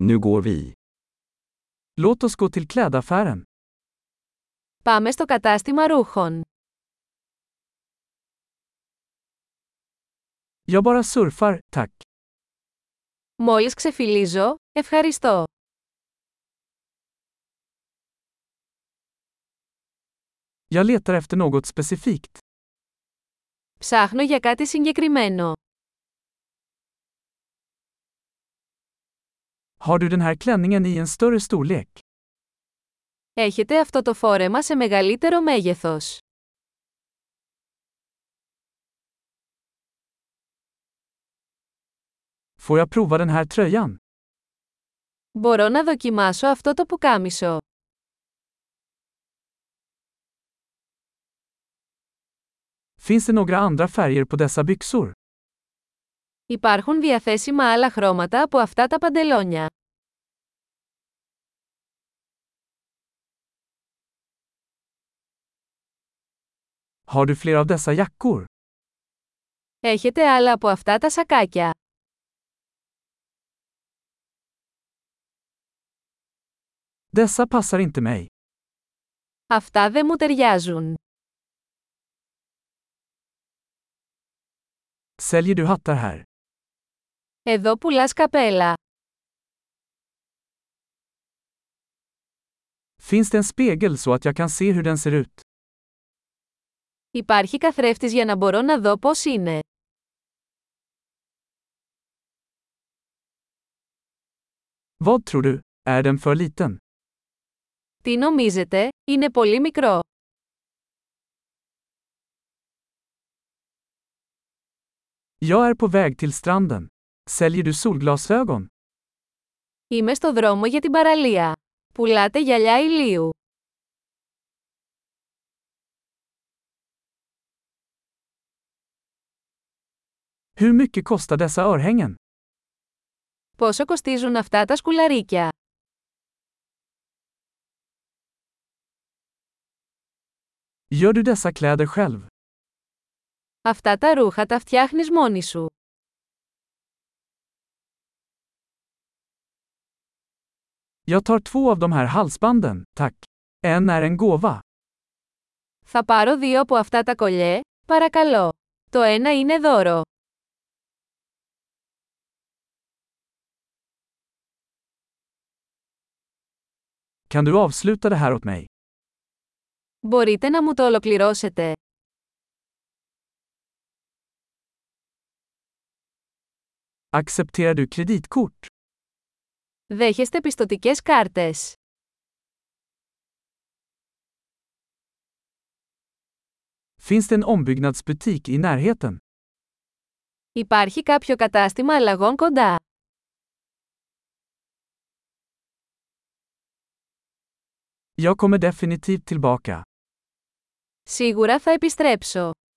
Nu går vi. Låt oss gå till klädaffären. Πάμε στο κατάστημα ρούχων. Jag bara surfar, tack. Μόλις ξεφυλίζω, ευχαριστώ. Jag letar efter något specifikt. Ψάχνω για κάτι συγκεκριμένο. Har du den här klänningen i en större storlek? Έχετε αυτό το φόρεμα σε μεγαλύτερο μέγεθος. Får jag prova den här tröjan? Μπορώ να δοκιμάσω αυτό το πουκάμισο. Finns det några andra färger på dessa byxor? Υπάρχουν διαθέσιμα άλλα χρώματα από αυτά τα παντελόνια. Har du fler av dessa jackor? Έχετε άλλα από αυτά τα σακάκια. Dessa passar inte mig. Αυτά δεν μου ταιριάζουν. Säljer du hattar här? Εδώ πουλάς καπέλα. Finns det en spegel så att jag kan se hur den ser ut? Υπάρχει καθρέφτης για να μπορώ να δω πώς είναι. Vad tror du? Är den för liten? Τι νομίζετε, είναι πολύ μικρό. Jag är på väg till stranden. Säljer du solglasögon? Είμαι στο δρόμο για την παραλία. Πουλάτε γυαλιά ηλίου. Hur mycket kostar dessa örhängen? Πόσο κοστίζουν αυτά τα σκουλαρίκια. Gör du dessa kläder själv? Αυτά τα ρούχα τα φτιάχνεις μόνη σου. Jag tar två av de här halsbanden, tack. En är en gåva. Θα πάρω δύο από αυτά τα κολλιέ, παρακαλώ. Το ένα είναι δώρο. Kan du avsluta det här åt mig? Μπορείτε να μου το ολοκληρώσετε. Accepterar du kreditkort? Δέχεστε πιστοτικές κάρτες. Finns det en ombyggnadsbutik i närheten? Υπάρχει κάποιο κατάστημα αλλαγών κοντά. Jag kommer definitivt tillbaka. Σίγουρα θα επιστρέψω.